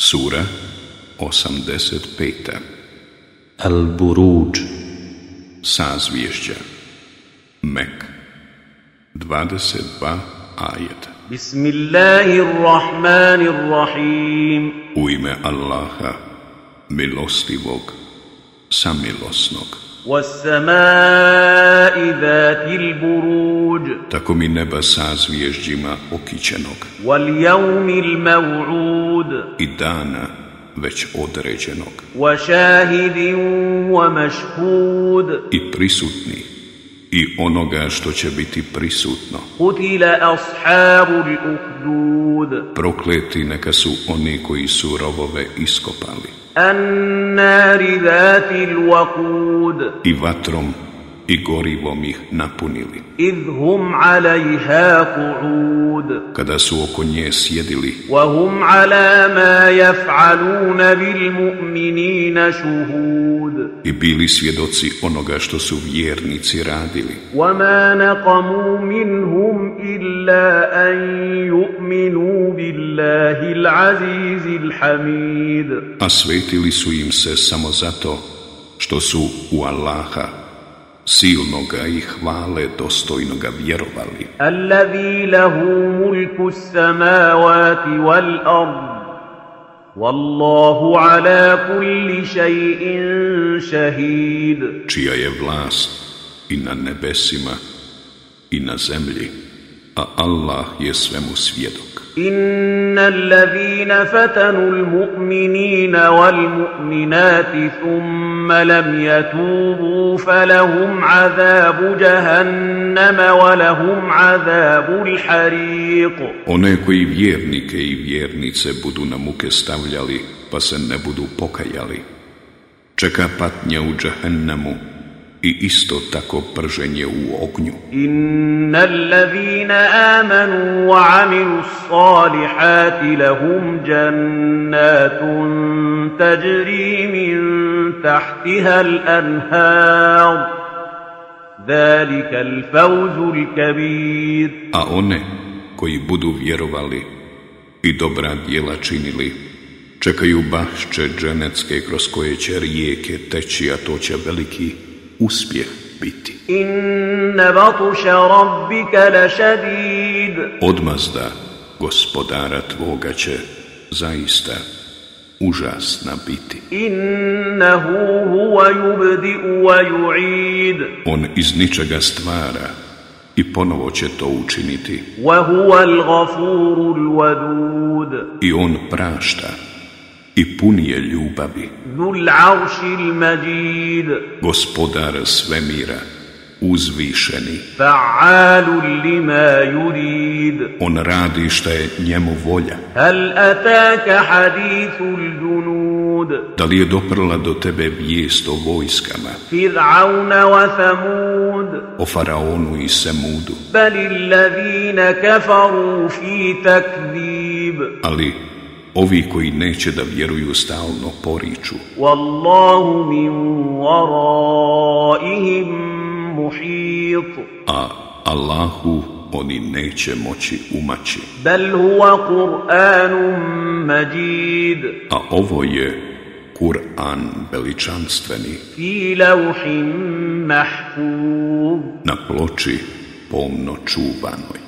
Sura 85. Al-Buruđ Sazvješća Mek 22 ajet بسم الله الرحمن الرحيم U ime Allaha Milostivog Samilosnog والسماء ذات البروج Tako mi neba sazvježđima okićenog واليوم الموعود I dana već određenog وشاهد ومشهود I prisutni I onoga što će biti prisutno قتل أصحاب الأخدود Prokleti neka su oni koji su robove iskopali النار ذات الوقود I vatrom i gorivom ih napunili إذ هم عليها قعود kada su oko nje sjedili وهم على ما يفعلون بالمؤمنين شهود i bili svjedoci onoga što su vjernici radili. وما نقموا منهم إلا أن يؤمنوا بالله العزيز الحميد A svetili su im se samo zato što su u Allaha silnoga i hvale dostojnoga vjerovali, الذي له ملك السماوات والأرض والله على كل شيء شهيد čija je vlast i na nebesima i na zemlji, a Allah je svemu svjedok. إن الذين فتنوا المؤمنين والمؤمنات ثم لم يتوبوا فلهم عذاب جهنم ولهم عذاب الحريق One koji vjernike i vjernice budu na muke stavljali, pa se ne budu pokajali. Čeka patnja u džahennamu i isto tako prženje u ognju. إن الذين آمنوا وعملوا الصالحات لهم جنات تجري من تحتها الأنهار ذلك الفوز الكبير A one koji budu vjerovali i dobra djela činili, čekaju bašće dženecke kroz koje će rijeke teći, a to će veliki uspjeh biti. إن بطش ربك لشديد Odmazda gospodara tvoga će zaista užasna biti. إنه هو يبدئ ويعيد On iz ničega stvara i ponovo će to učiniti. وهو الغفور الودود I on prašta i pun je ljubavi. ذو العرش المجيد Gospodar svemira, uzvišeni. فعال لما يريد On radi šta je njemu volja. هل أتاك حديث الجنود Da li je doprla do tebe vijest o vojskama, فرعون وثمود o faraonu i semudu? بل الذين كفروا في تكذيب Ali ovi koji neće da vjeruju stalno poriču. والله من ورائهم محيط A Allahu oni neće moći umaći. بل هو قرآن مجيد A ovo je Kur'an veličanstveni في لوح محفوظ na ploči pomno čuvanoj.